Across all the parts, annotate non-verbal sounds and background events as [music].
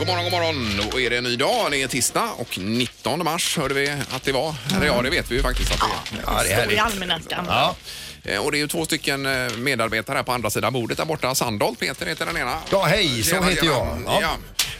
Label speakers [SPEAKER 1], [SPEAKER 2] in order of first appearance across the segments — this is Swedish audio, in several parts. [SPEAKER 1] morgon och är det en ny dag? Det är tisdag och 19 mars hörde vi att det var. Eller ja, det vet vi ju faktiskt att det är.
[SPEAKER 2] Ja, det är
[SPEAKER 3] Står i
[SPEAKER 2] härligt.
[SPEAKER 3] almanackan.
[SPEAKER 2] Ja.
[SPEAKER 1] Eh, Och det är ju två stycken eh, medarbetare här på andra sidan bordet där borta. Sandholt Peter heter den ena.
[SPEAKER 2] ja, hej, så
[SPEAKER 1] Tjena,
[SPEAKER 2] heter jag.
[SPEAKER 1] tjena.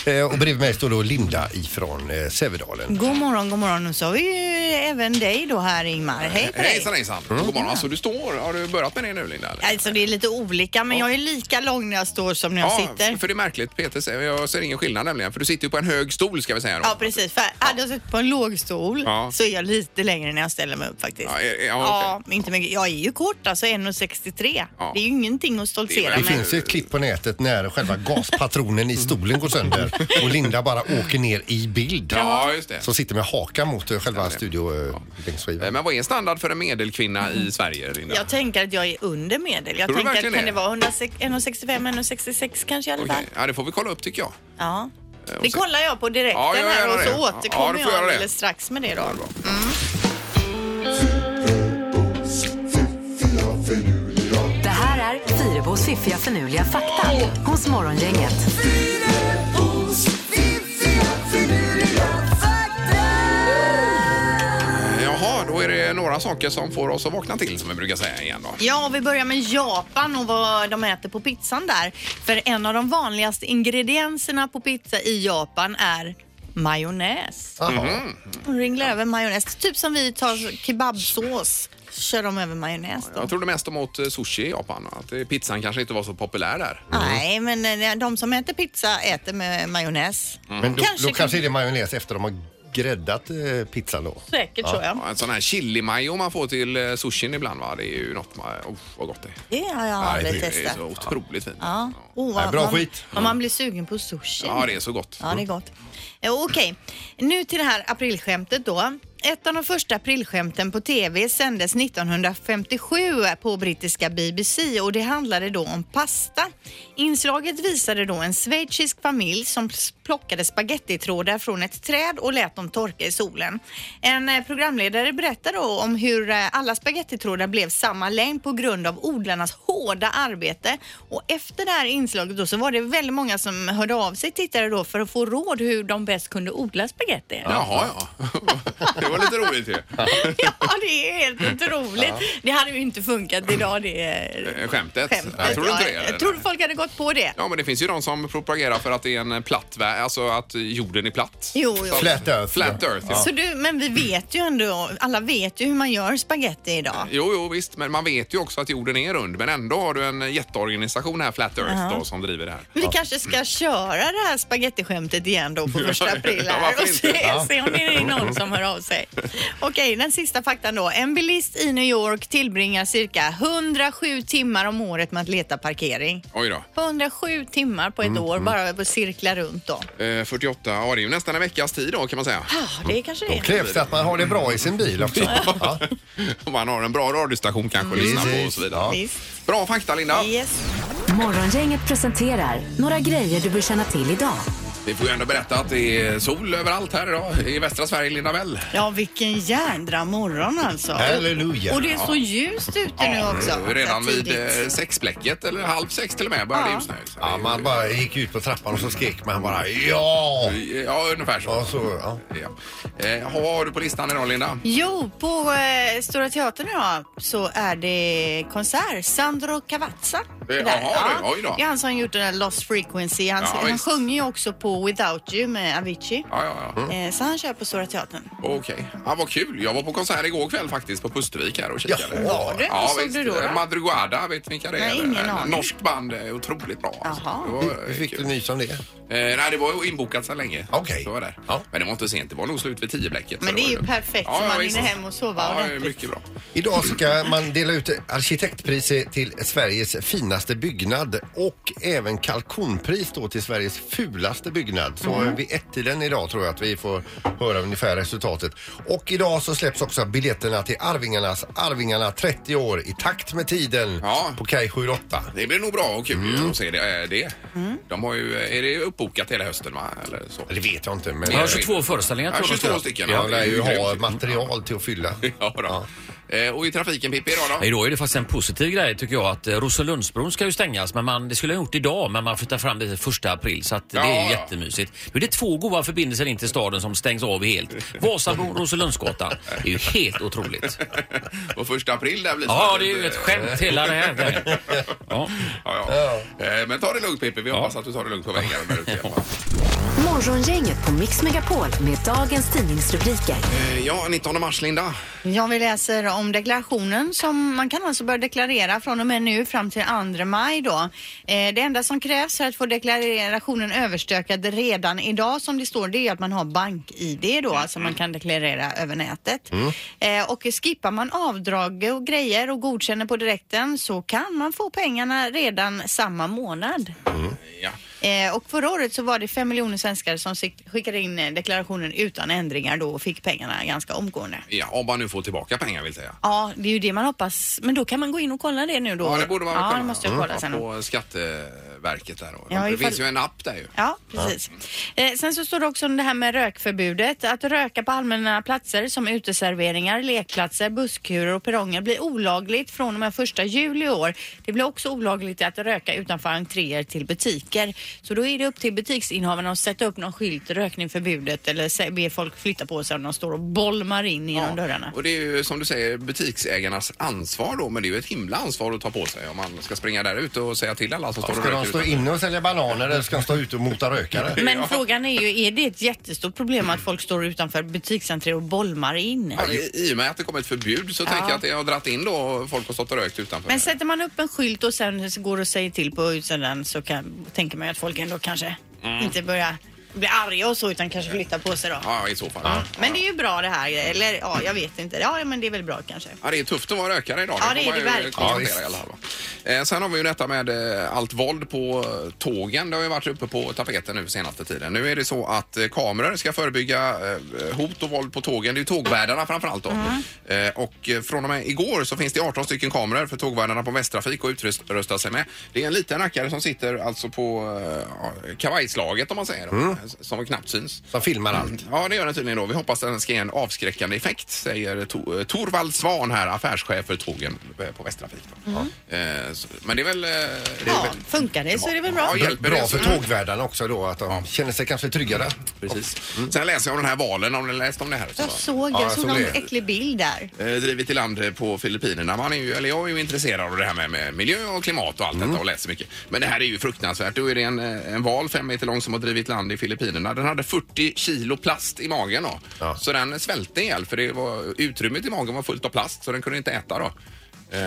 [SPEAKER 2] Ja. Eh, Och bredvid mig står då Linda ifrån eh, Sävedalen.
[SPEAKER 3] God morgon, god morgon. Nu sa vi ju även dig då här Ingmar. Hej på dig.
[SPEAKER 1] Hejsan hejsan.
[SPEAKER 2] Mm.
[SPEAKER 1] God morgon. Alltså du står. Har du börjat med det nu Linda? eller?
[SPEAKER 3] Alltså det är lite olika men jag är lika lång när jag står som när jag sitter.
[SPEAKER 1] för det är märkligt Peter. säger- Jag ser ingen skillnad nämligen. För du sitter ju på en hög stol ska vi säga då.
[SPEAKER 3] Ja precis, för hade jag suttit på en lågstol
[SPEAKER 1] Ja.
[SPEAKER 3] så är jag lite längre när jag ställer mig upp faktiskt.
[SPEAKER 1] Ja, är- ja,
[SPEAKER 3] inte mycket. Jag är ju kort alltså, 1,63.
[SPEAKER 1] Ja.
[SPEAKER 3] Det är ju ingenting att
[SPEAKER 1] Det är väl-
[SPEAKER 3] stoltsera
[SPEAKER 1] Men-
[SPEAKER 2] Det
[SPEAKER 3] med.
[SPEAKER 2] finns ju ett klipp på nätet när själva gaspatronen i stolen går sönder och Linda bara åker ner i bild.
[SPEAKER 1] Ja, just det.
[SPEAKER 2] Som sitter med hakan mot eh, själva
[SPEAKER 1] Eh,
[SPEAKER 2] studiobänksskivan.
[SPEAKER 1] Men vad är standard för en medelkvinna i Sverige Linda?
[SPEAKER 3] Jag tänker att jag är under medel.
[SPEAKER 1] Tror
[SPEAKER 3] Jag
[SPEAKER 1] du
[SPEAKER 3] tänker
[SPEAKER 1] verkligen
[SPEAKER 3] att kan
[SPEAKER 1] det?
[SPEAKER 3] det vara 165, 166 kanske i alla fall.
[SPEAKER 1] Okej. Ja, det får vi kolla upp tycker jag.
[SPEAKER 3] Ja.
[SPEAKER 1] och
[SPEAKER 3] Det
[SPEAKER 1] sen-
[SPEAKER 3] kollar jag på direkten
[SPEAKER 1] Ja, ja,
[SPEAKER 3] här
[SPEAKER 1] gör
[SPEAKER 3] och
[SPEAKER 1] det.
[SPEAKER 3] så
[SPEAKER 1] Ja, ja,
[SPEAKER 3] återkommer
[SPEAKER 1] du får
[SPEAKER 3] jag
[SPEAKER 1] göra det.
[SPEAKER 3] alldeles strax med det då.
[SPEAKER 4] Det här är Fyrabos fiffiga förnuliga fakta hos Morgongänget.
[SPEAKER 1] Eh, Jaha, då är det några saker som får oss att vakna till som vi brukar säga igen då.
[SPEAKER 3] Ja, vi börjar med Japan och vad de äter på pizzan där. För en av de vanligaste ingredienserna på pizza i Japan är majonnäs.
[SPEAKER 2] Jaha.
[SPEAKER 1] Mhm,
[SPEAKER 3] De ringlar över majonnäs, typ som vi tar kebabsås. Kör de över majonnäs då?
[SPEAKER 1] Jag trodde mest om åt eh, sushi i Japan. Att eh, pizzan kanske inte var så populär där.
[SPEAKER 3] Nej, men eh, de som äter pizza äter med majonnäs.
[SPEAKER 1] Mm. mhm.
[SPEAKER 2] Men då,
[SPEAKER 3] Kanske
[SPEAKER 2] då
[SPEAKER 3] kan-
[SPEAKER 2] kanske är det majonnäs efter de har gräddat eh, pizzan då.
[SPEAKER 3] Säkert tror jag.
[SPEAKER 1] Ja, En sån här chili-majo man får till eh, sushin ibland va? Det är ju något man... Oh, vad gott det är.
[SPEAKER 3] Det har jag
[SPEAKER 1] det,
[SPEAKER 3] aldrig
[SPEAKER 1] är
[SPEAKER 3] testat.
[SPEAKER 1] så otroligt fint.
[SPEAKER 3] Ja. Oh, vad-
[SPEAKER 2] bra
[SPEAKER 3] man,
[SPEAKER 2] skit.
[SPEAKER 3] Om man blir sugen på sushi.
[SPEAKER 1] Ja, det är så gott.
[SPEAKER 3] Ja, det är gott. Eh, Okej, nu till det här aprilskämtet då. Ett av de första aprilskämten på tv sändes 1957 på brittiska BBC och det handlade då om pasta. Inslaget visade då en schweizisk familj som plockade spagettitrådar eh, från ett träd och lät dem torka i solen. En eh, programledare berättar då om hur eh, alla spagettitrådar blev samma längd på grund av odlarnas hårda arbete. Och efter det här inslaget då så var det väldigt många som hörde av sig tittare då för att få råd hur de bäst kunde odla spagetti.
[SPEAKER 1] Jaha, ja. [laughs] Det var lite roligt ju.
[SPEAKER 3] [laughs] Ja, det är helt otroligt. Det hade ju inte funkat idag det eh,
[SPEAKER 1] Eh, Skämtet.
[SPEAKER 3] skämtet.
[SPEAKER 1] Jag tror inte
[SPEAKER 3] Ja,
[SPEAKER 1] det.
[SPEAKER 3] jag
[SPEAKER 1] eller?
[SPEAKER 3] tror folk hade gått på det.
[SPEAKER 1] Ja, men det finns ju de som propagerar för att det är en platt värld, alltså att jorden är platt.
[SPEAKER 3] Jo, jo.
[SPEAKER 2] Flat Earth.
[SPEAKER 1] Flat Earth, ja.
[SPEAKER 3] Så du, men vi vet ju ändå, alla vet ju hur man gör spagetti idag.
[SPEAKER 1] Jo, jo, visst, men man vet ju också att jorden är rund. Men ändå har du en jätteorganisation här, Flat Earth, då, som driver det här.
[SPEAKER 3] Men vi kanske ska köra det här spagettiskämtet igen då på första april
[SPEAKER 1] Mm. Ja,
[SPEAKER 3] här
[SPEAKER 1] varför
[SPEAKER 3] och se,
[SPEAKER 1] inte? Ja.
[SPEAKER 3] se om det är någon som hör av sig. Okej, den sista faktan då. En bilist i New York tillbringar cirka 107 timmar om året med att leta parkering.
[SPEAKER 1] Oj då.
[SPEAKER 3] 107 timmar på ett
[SPEAKER 1] Mm,
[SPEAKER 3] år bara att cirkla runt då.
[SPEAKER 1] Eh, 48, ja det är ju nästan en veckas tid då kan man säga.
[SPEAKER 3] Ja, det är kanske det.
[SPEAKER 2] Krävs det att man har det bra i sin bil också? Ja.
[SPEAKER 1] Om man har en bra radiostation kanske att lyssna på och så vidare.
[SPEAKER 3] Visst.
[SPEAKER 1] Bra fakta Linda.
[SPEAKER 3] Yes.
[SPEAKER 4] Morgongänget presenterar några grejer du bör känna till idag.
[SPEAKER 1] Vi får ju ändå berätta att det är sol överallt här idag i västra Sverige, Linda Bell.
[SPEAKER 3] Ja, vilken jädra morgon alltså.
[SPEAKER 2] Halleluja.
[SPEAKER 3] Och det är så ljust ute nu också.
[SPEAKER 1] Mm. Redan vid
[SPEAKER 3] Tidigt.
[SPEAKER 1] eh, sexblecket eller halv sex till och med började det
[SPEAKER 3] Ja.
[SPEAKER 1] ljusna. ut. Så det är
[SPEAKER 2] Ja,
[SPEAKER 1] ju-
[SPEAKER 2] man bara gick ut på trappan och så skrek man bara ja.
[SPEAKER 1] Ja, ungefär så.
[SPEAKER 2] Ja, så, ja.
[SPEAKER 1] Ja. Eh, vad har du på listan idag Linda?
[SPEAKER 3] Jo, på eh, Stora Teatern idag så är det konsert. Sandro Cavazza. är
[SPEAKER 1] Eh,
[SPEAKER 3] där.
[SPEAKER 1] jaha, du, oj då.
[SPEAKER 3] Det är han som gjort den där Lost Frequency. Han,
[SPEAKER 1] Ja,
[SPEAKER 3] han
[SPEAKER 1] visst.
[SPEAKER 3] sjunger ju också på Without You med Avicii.
[SPEAKER 1] Ja, Mm. ja, ja.
[SPEAKER 3] Eh, så han kör på Stora Teatern.
[SPEAKER 1] Okej. Ja, vad kul. Jag var på konsert igår kväll faktiskt på Pustervik här och kikade.
[SPEAKER 2] Jaha. Var
[SPEAKER 3] du?
[SPEAKER 1] Ja,
[SPEAKER 3] Vad såg
[SPEAKER 1] visst.
[SPEAKER 3] du då, då?
[SPEAKER 1] Madrugada, vet ni vilka det är?
[SPEAKER 3] Nej, ingen aning.
[SPEAKER 1] Norskt band. eh, Otroligt bra. alltså.
[SPEAKER 3] Jaha.
[SPEAKER 1] Det var, eh,
[SPEAKER 2] Hur fick du
[SPEAKER 1] kul.
[SPEAKER 2] nys om det?
[SPEAKER 1] Eh, nej, det var ju inbokat sedan länge.
[SPEAKER 2] Okej.
[SPEAKER 1] Det var där.
[SPEAKER 2] Ja.
[SPEAKER 1] Men det var inte sent. Det var nog slut vid tioblecket.
[SPEAKER 3] Men
[SPEAKER 1] så
[SPEAKER 3] det är ju
[SPEAKER 1] var lugnt.
[SPEAKER 3] perfekt, så man
[SPEAKER 1] visst.
[SPEAKER 3] hinner hem och sova
[SPEAKER 1] Ja,
[SPEAKER 3] ordentligt.
[SPEAKER 1] mycket bra.
[SPEAKER 2] Idag ska man dela ut arkitektpriset till Sveriges finaste byggnad och även kalkonpris då till Sveriges fulaste byggnad. Så
[SPEAKER 1] Mm.
[SPEAKER 2] vid ett-tiden idag tror jag att vi får höra ungefär resultatet. Och idag så släpps också biljetterna till Arvingarnas Arvingarna 30 år i takt med tiden
[SPEAKER 1] Ja.
[SPEAKER 2] på Kaj 78.
[SPEAKER 1] Det blir nog bra och kul
[SPEAKER 3] Mm.
[SPEAKER 1] ju att se det. eh, det. De har ju, eh, är det uppbokat hela hösten va? Eller så?
[SPEAKER 2] Det vet jag inte men...
[SPEAKER 5] Jag har 22 föreställningar
[SPEAKER 1] Ja,
[SPEAKER 5] tror jag.
[SPEAKER 1] 22 stycken.
[SPEAKER 2] Ja,
[SPEAKER 1] det
[SPEAKER 2] lär
[SPEAKER 1] är
[SPEAKER 2] ju
[SPEAKER 1] grymt.
[SPEAKER 2] ha material till att fylla.
[SPEAKER 1] Ja, då. Eh, Och i trafiken Pippi idag då?
[SPEAKER 5] Nej, då är det faktiskt en positiv grej tycker jag att eh, Rosenlundsbron ska ju stängas. Men man, det skulle ha gjort idag men man flyttar fram det till första april så att det
[SPEAKER 1] Ja,
[SPEAKER 5] är
[SPEAKER 1] ja.
[SPEAKER 5] jättemysigt. Nu är det två goda förbindelser in till staden som stängs av helt. Vasabron och Rosenlundsgatan. Det är ju helt otroligt.
[SPEAKER 1] [laughs] Och första april där blir
[SPEAKER 5] Ja,
[SPEAKER 1] snart
[SPEAKER 5] det är ju
[SPEAKER 1] lite-
[SPEAKER 5] ett skämt hela det här. Ja.
[SPEAKER 1] Ja, ja. Eh, Men ta det lugnt Pippi, vi hoppas att du tar det lugnt på
[SPEAKER 5] [laughs]
[SPEAKER 1] vägen där ute. i alla fall.
[SPEAKER 4] Morgongänget på Mix Megapol med dagens tidningsrubriker.
[SPEAKER 1] Eh, Ja, 19 mars Linda.
[SPEAKER 3] Ja, vi läser om deklarationen som man kan alltså börja deklarera från och med nu fram till 2 maj då. Eh, Det enda som krävs för att få deklarationen överstökad redan idag som det står det är att man har bank-id då, alltså man kan deklarera över nätet. Eh, Och skippar man avdrag och grejer och godkänner på direkten så kan man få pengarna redan samma månad.
[SPEAKER 1] Ja.
[SPEAKER 3] Eh, och förra året så var det fem miljoner svenskar som skick- skickade in eh, deklarationen utan ändringar då och fick pengarna ganska omgående.
[SPEAKER 1] ja, om man nu får tillbaka pengar vill säga.
[SPEAKER 3] Ja, det är ju det man hoppas. Men då kan man gå in och kolla det nu då.
[SPEAKER 1] Ja, det borde man väl
[SPEAKER 3] Ja,
[SPEAKER 1] kolla.
[SPEAKER 3] det måste jag
[SPEAKER 1] Mm.
[SPEAKER 3] kolla sen.
[SPEAKER 1] Ja, På Skatteverket där. Och
[SPEAKER 3] Ja,
[SPEAKER 1] det
[SPEAKER 3] ifall-
[SPEAKER 1] finns ju en app där ju.
[SPEAKER 3] Ja, precis. Eh, sen så står det också om det här med rökförbudet. Att röka på allmänna platser som uteserveringar, lekplatser, busskurer och perronger blir olagligt från och med första juli i år. Det blir också olagligt att röka utanför entréer till butiker. Så då är det upp till butiksinnehavarna att sätta upp någon skylt, rökning förbudet eller se- be folk flytta på sig om de står och bolmar in genom dörrarna.
[SPEAKER 1] Och det är ju som du säger butiksägarnas ansvar då, men det är ju ett himla ansvar att ta på sig om man ska springa där ute och säga till alla som står och
[SPEAKER 2] Ska de
[SPEAKER 1] röker.
[SPEAKER 2] stå
[SPEAKER 1] ute.
[SPEAKER 2] inne och sälja bananer eller ska de stå ute och mota
[SPEAKER 1] [laughs]
[SPEAKER 2] rökare?
[SPEAKER 3] Men frågan är ju, är det ett jättestort problem att folk står utanför butiksentréer och bolmar in?
[SPEAKER 1] Ja, i, I och med att det kom ett förbud så tänker jag att det har dratt in då folk har stått och rökt utanför.
[SPEAKER 3] Men sätter man upp en skylt och sen går och säger till på utsidan så kan, tänker man ju att folk ändå kanske inte börjar bli arga och så utan kanske flyttar på sig då.
[SPEAKER 1] Mm. Ja, i så fall.
[SPEAKER 3] Men det är ju bra det här, eller ja, jag vet inte. Ja, men det är väl bra kanske.
[SPEAKER 1] Ja, det är tufft att vara rökare idag.
[SPEAKER 3] Ja, det
[SPEAKER 1] får
[SPEAKER 3] är det
[SPEAKER 1] man ju
[SPEAKER 3] verkligen.
[SPEAKER 1] konstatera
[SPEAKER 2] Ja, visst.
[SPEAKER 1] i alla fall, va. Eh, Sen har vi ju detta med eh, allt våld på eh, tågen. Det har ju varit uppe på tapeten nu senaste tiden. Nu är det så att eh, kameror ska förebygga eh, hot och våld på tågen. Det är ju tågvärdarna framförallt då.
[SPEAKER 3] Mm.
[SPEAKER 1] Eh, Och eh, från och med igår så finns det 18 stycken kameror för tågvärdarna på Västtrafik att utrusta sig med. Det är en liten rackare som sitter alltså på eh, ja, kavajslaget om man säger. Mm. Som knappt syns.
[SPEAKER 2] Som filmar allt.
[SPEAKER 1] Mm. Ja, det gör den tydligen då. Vi hoppas att den ska ge en avskräckande effekt, säger to- eh, Torvald Svan här, affärschef för tågen eh, på Västtrafik. då. Eh, så- Men det är väl... eh, Det är
[SPEAKER 3] Ja,
[SPEAKER 1] väl
[SPEAKER 3] funkar det så är det väl bra.
[SPEAKER 1] Ja, hjälper
[SPEAKER 2] Bra
[SPEAKER 1] det.
[SPEAKER 2] för
[SPEAKER 1] Mm.
[SPEAKER 2] tågvärdarna också då att de känner sig kanske tryggare.
[SPEAKER 1] Precis. Sen läser jag om den här valen, om ni läst om det här? Så
[SPEAKER 3] Jag
[SPEAKER 1] va?
[SPEAKER 2] Ja,
[SPEAKER 3] såg, jag
[SPEAKER 2] jag
[SPEAKER 3] såg
[SPEAKER 2] såg
[SPEAKER 3] någon
[SPEAKER 2] det.
[SPEAKER 3] äcklig bild där.
[SPEAKER 1] Eh, drivit i land eh, på Filippinerna. Man är ju, eller jag är ju intresserad av det här med, med miljö och klimat och allt
[SPEAKER 2] Mm.
[SPEAKER 1] detta och läser mycket. Men det här är ju fruktansvärt. Då är det en, eh, en val fem meter lång som har drivit land i Filippinerna. Den hade 40 kilo plast i magen då.
[SPEAKER 2] Ja.
[SPEAKER 1] Så den svälte ihjäl för det var, utrymmet i magen var fullt av plast så den kunde inte äta då. Eh,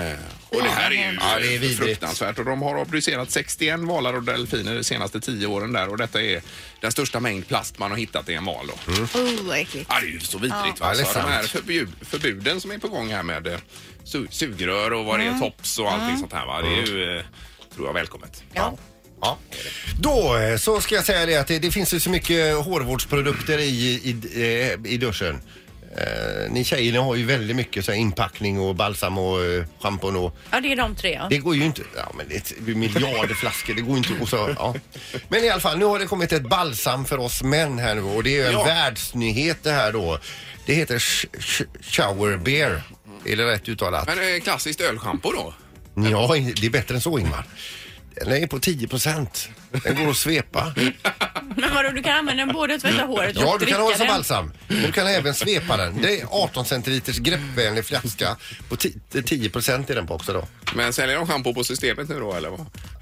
[SPEAKER 1] och det här är ju
[SPEAKER 2] Ja, det är vidrigt.
[SPEAKER 1] fruktansvärt och de har obducerat 61 valar och delfiner de senaste 10 åren där och detta är den största mängd plast man har hittat i en val då. Mm.
[SPEAKER 3] Oh, vad äckligt.
[SPEAKER 1] Ja, det är ju så vidrigt.
[SPEAKER 2] Ja,
[SPEAKER 1] Va?
[SPEAKER 2] det är
[SPEAKER 1] Så de här
[SPEAKER 2] sant.
[SPEAKER 1] förbjud, förbuden som är på gång här med eh, su sugrör och vad det
[SPEAKER 3] Mm.
[SPEAKER 1] är, tops och allting sånt här. Va? Det är
[SPEAKER 2] Mm.
[SPEAKER 1] ju, eh, tror jag, välkommet.
[SPEAKER 3] Ja.
[SPEAKER 2] Ja. Då eh, så ska jag säga det att det, det finns ju så mycket hårvårdsprodukter i, i, eh, i duschen. Eh, ni tjejerna har ju väldigt mycket så här inpackning och balsam och eh, schampon och
[SPEAKER 3] Ja, det är de tre ja.
[SPEAKER 2] det går ju inte, ja men det är miljarder flaskor, det går inte att så, ja. Men i alla fall, nu har det kommit ett balsam för oss män här nu och det är ju en
[SPEAKER 1] Ja.
[SPEAKER 2] världsnyhet det här då. Det heter sh- sh- shower beer. Är det rätt uttalat?
[SPEAKER 1] Men eh, klassiskt ölschampo då?
[SPEAKER 2] Ja, det är bättre än så Ingmar. Den är på 10 procent. Den går att
[SPEAKER 3] [laughs]
[SPEAKER 2] svepa.
[SPEAKER 3] Men vadå, du kan använda den både att tvätta håret och
[SPEAKER 2] Ja, du kan ha den som
[SPEAKER 3] dricka den.
[SPEAKER 2] balsam. Men Du kan även svepa den. Det är 18 centiliters greppvänlig flaska. På 10 procent är den på också då.
[SPEAKER 1] Men säljer de schampo på systemet nu då eller? vad?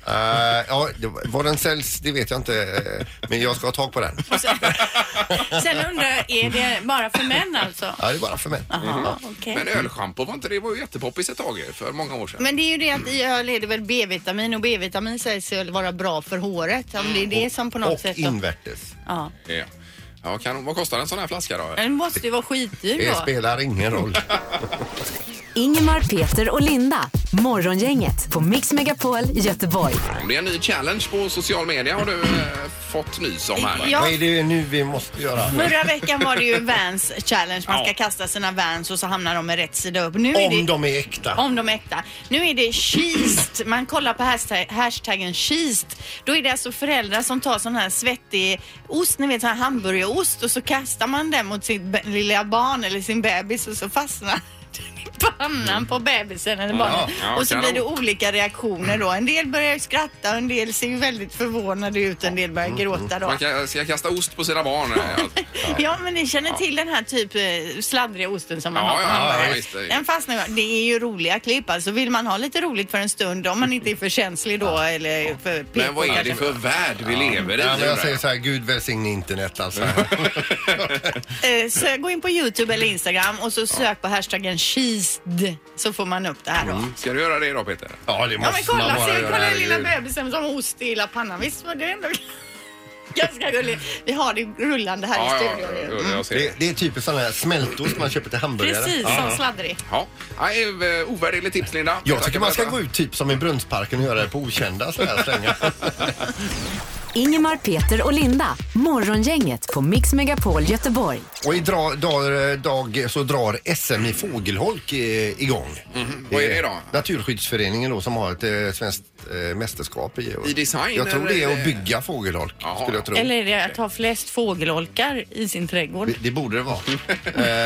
[SPEAKER 2] Eh, ja, det- var den säljs, det vet jag inte. eh, Men jag ska ha tag på den.
[SPEAKER 3] Och sen, sen undrar jag, är det bara för män alltså?
[SPEAKER 2] Ja, det är bara för mig.
[SPEAKER 3] Aha,
[SPEAKER 2] Ah,
[SPEAKER 3] okej.
[SPEAKER 1] Men ölschampo var inte det? var ju jättepoppis ett tag ju, för många år sedan.
[SPEAKER 3] Men det är ju det att i öl är det väl B-vitamin och B-vitamin sägs ju vara bra för håret. Om det är det som på något
[SPEAKER 2] Och
[SPEAKER 3] sätt... då-
[SPEAKER 2] invärtes.
[SPEAKER 3] Ja.
[SPEAKER 1] Ja. Ja, kan, vad kostar en sån här flaska då?
[SPEAKER 3] Den måste ju vara skitdyr
[SPEAKER 2] Det
[SPEAKER 3] då.
[SPEAKER 2] spelar ingen roll.
[SPEAKER 4] Ingemar, Peter och Linda. Morgongänget på Mix Megapol i Göteborg.
[SPEAKER 1] Det är en ny challenge på social media har du eh, fått nys om här.
[SPEAKER 3] Ja.
[SPEAKER 2] Vad är det nu vi måste göra?
[SPEAKER 3] Förra veckan var det ju Vans challenge. Man ska
[SPEAKER 1] Ja.
[SPEAKER 3] kasta sina Vans och så hamnar de med rätt sida upp. Nu är
[SPEAKER 2] Om
[SPEAKER 3] det,
[SPEAKER 2] de är äkta.
[SPEAKER 3] om de är äkta. Nu är det cheest. Man kollar på hashtag, hashtaggen cheest. Då är det alltså föräldrar som tar sån här svettig ost, ni vet sån här hamburgerost och så kastar man den mot sitt be- lilla barn eller sin bebis och så fastnar [laughs] den i pannan på bebisen eller barnet.
[SPEAKER 1] ja,
[SPEAKER 3] och så
[SPEAKER 1] kanon.
[SPEAKER 3] blir det olika reaktioner då. En del börjar ju skratta och en del ser ju väldigt förvånade ut. En del
[SPEAKER 1] Mm,
[SPEAKER 3] börjar gråta då.
[SPEAKER 1] Man kan, ska kasta ost på sina barn. eh, allt.
[SPEAKER 3] [laughs] Ja, men ni känner till den här typ eh, sladdriga osten som man
[SPEAKER 1] Ja,
[SPEAKER 3] har på
[SPEAKER 1] ja, ja,
[SPEAKER 3] hamburgare.
[SPEAKER 1] visst, det är-
[SPEAKER 3] Den fastnar ju. Det är ju roliga klipp alltså. Vill man ha lite roligt för en stund, om man inte är för känslig då eller för PK
[SPEAKER 1] Men vad är det
[SPEAKER 3] kanske.
[SPEAKER 1] för värld vi lever i?
[SPEAKER 2] Ja, men jag
[SPEAKER 1] undrar
[SPEAKER 2] säger så här, Gud välsigne internet
[SPEAKER 3] [laughs]
[SPEAKER 2] alltså. [laughs]
[SPEAKER 3] Eh, Så gå in på Youtube eller Instagram och så sök på hashtaggen cheesed så får man upp det här då.
[SPEAKER 1] Ska du göra det idag Peter?
[SPEAKER 2] Ja, det
[SPEAKER 3] Ja men
[SPEAKER 2] måste man
[SPEAKER 3] kolla,
[SPEAKER 2] bara
[SPEAKER 3] se,
[SPEAKER 2] göra.
[SPEAKER 3] kolla den lilla
[SPEAKER 2] herregud.
[SPEAKER 3] bebisen som har ost i hela pannan. Visst var det ändå [laughs] ganska gulligt? Vi har det rullande här i studion ju.
[SPEAKER 1] jag, jag ser det.
[SPEAKER 2] Det, det är typiskt sån här smältost man köper till hamburgare.
[SPEAKER 3] Precis, som sladdrig.
[SPEAKER 1] Ja. Ja, det är, eh, Ovärderligt tips Linda.
[SPEAKER 2] Jag tycker man ska
[SPEAKER 1] Tackar för
[SPEAKER 2] gå ut typ som i Brunnsparken och göra det på okända så här [laughs] slängar.
[SPEAKER 4] Ingemar, Peter och Linda. Morgongänget på Mix Megapol Göteborg.
[SPEAKER 2] Och idag dag, dag så drar SM i fågelholk eh, igång.
[SPEAKER 1] Vad är det då?
[SPEAKER 2] Naturskyddsföreningen då som har ett eh, svenskt eh, mästerskap i.
[SPEAKER 1] I design,
[SPEAKER 2] Jag tror det är
[SPEAKER 1] eller?
[SPEAKER 2] att bygga fågelholk.
[SPEAKER 1] Jaha.
[SPEAKER 2] Skulle jag tro.
[SPEAKER 3] Eller är det att ha flest fågelholkar i sin trädgård?
[SPEAKER 2] Det, det borde det [laughs] vara. Eh,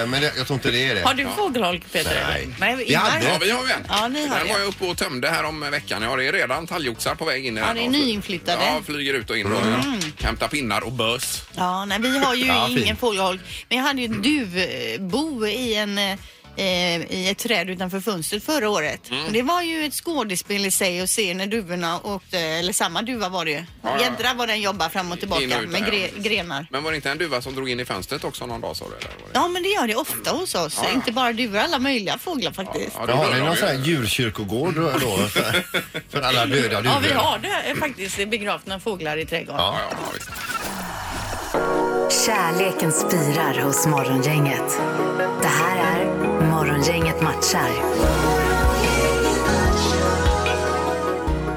[SPEAKER 2] men det, jag tror inte det är det.
[SPEAKER 3] Har du fågelholk Peter?
[SPEAKER 2] Nej.
[SPEAKER 3] Nej
[SPEAKER 2] Vi hade-
[SPEAKER 1] Ja, vi har ju en.
[SPEAKER 3] Ja, ni har
[SPEAKER 1] Den
[SPEAKER 3] det.
[SPEAKER 1] var jag uppe och tömde här om veckan. Ja, det är redan talgoxar på väg in. i
[SPEAKER 3] Ja,
[SPEAKER 1] den.
[SPEAKER 3] det är nyinflyttade.
[SPEAKER 1] Ja, flyger ut och in. och
[SPEAKER 2] Mm.
[SPEAKER 1] Hämtar pinnar och bös.
[SPEAKER 3] Ja, nej, vi har ju
[SPEAKER 2] Ja,
[SPEAKER 3] ingen
[SPEAKER 2] fint.
[SPEAKER 3] fågelholk. Men jag hade ju ett duvbo i en eh, eh, i ett träd utanför fönstret förra året.
[SPEAKER 1] Mm.
[SPEAKER 3] Det var ju ett skådespel i sig att se när duvorna åkte, eller samma duva var det ju.
[SPEAKER 1] ja, ja.
[SPEAKER 3] Jädrar vad den jobbar fram och tillbaka
[SPEAKER 1] In och ut
[SPEAKER 3] med
[SPEAKER 1] där, ja,
[SPEAKER 3] gre-
[SPEAKER 1] precis.
[SPEAKER 3] grenar.
[SPEAKER 1] Men var det inte en duva som drog in i fönstret också någon dag sa du? Eller? var det-
[SPEAKER 3] Ja, men det gör det ofta hos oss.
[SPEAKER 1] Ja, ja.
[SPEAKER 3] Inte bara duvor, alla möjliga fåglar faktiskt.
[SPEAKER 1] Ja,
[SPEAKER 2] Men har
[SPEAKER 1] det
[SPEAKER 2] ni
[SPEAKER 1] har
[SPEAKER 2] någon
[SPEAKER 1] vi.
[SPEAKER 2] sån här djurkyrkogård då? då för, för alla döda djur?
[SPEAKER 3] Ja, vi har det eh, faktiskt begravna fåglar i trädgården.
[SPEAKER 1] Ja, ja, ja, visst.
[SPEAKER 4] Kärleken spirar hos Morgongänget. Det här är Morgongänget matchar.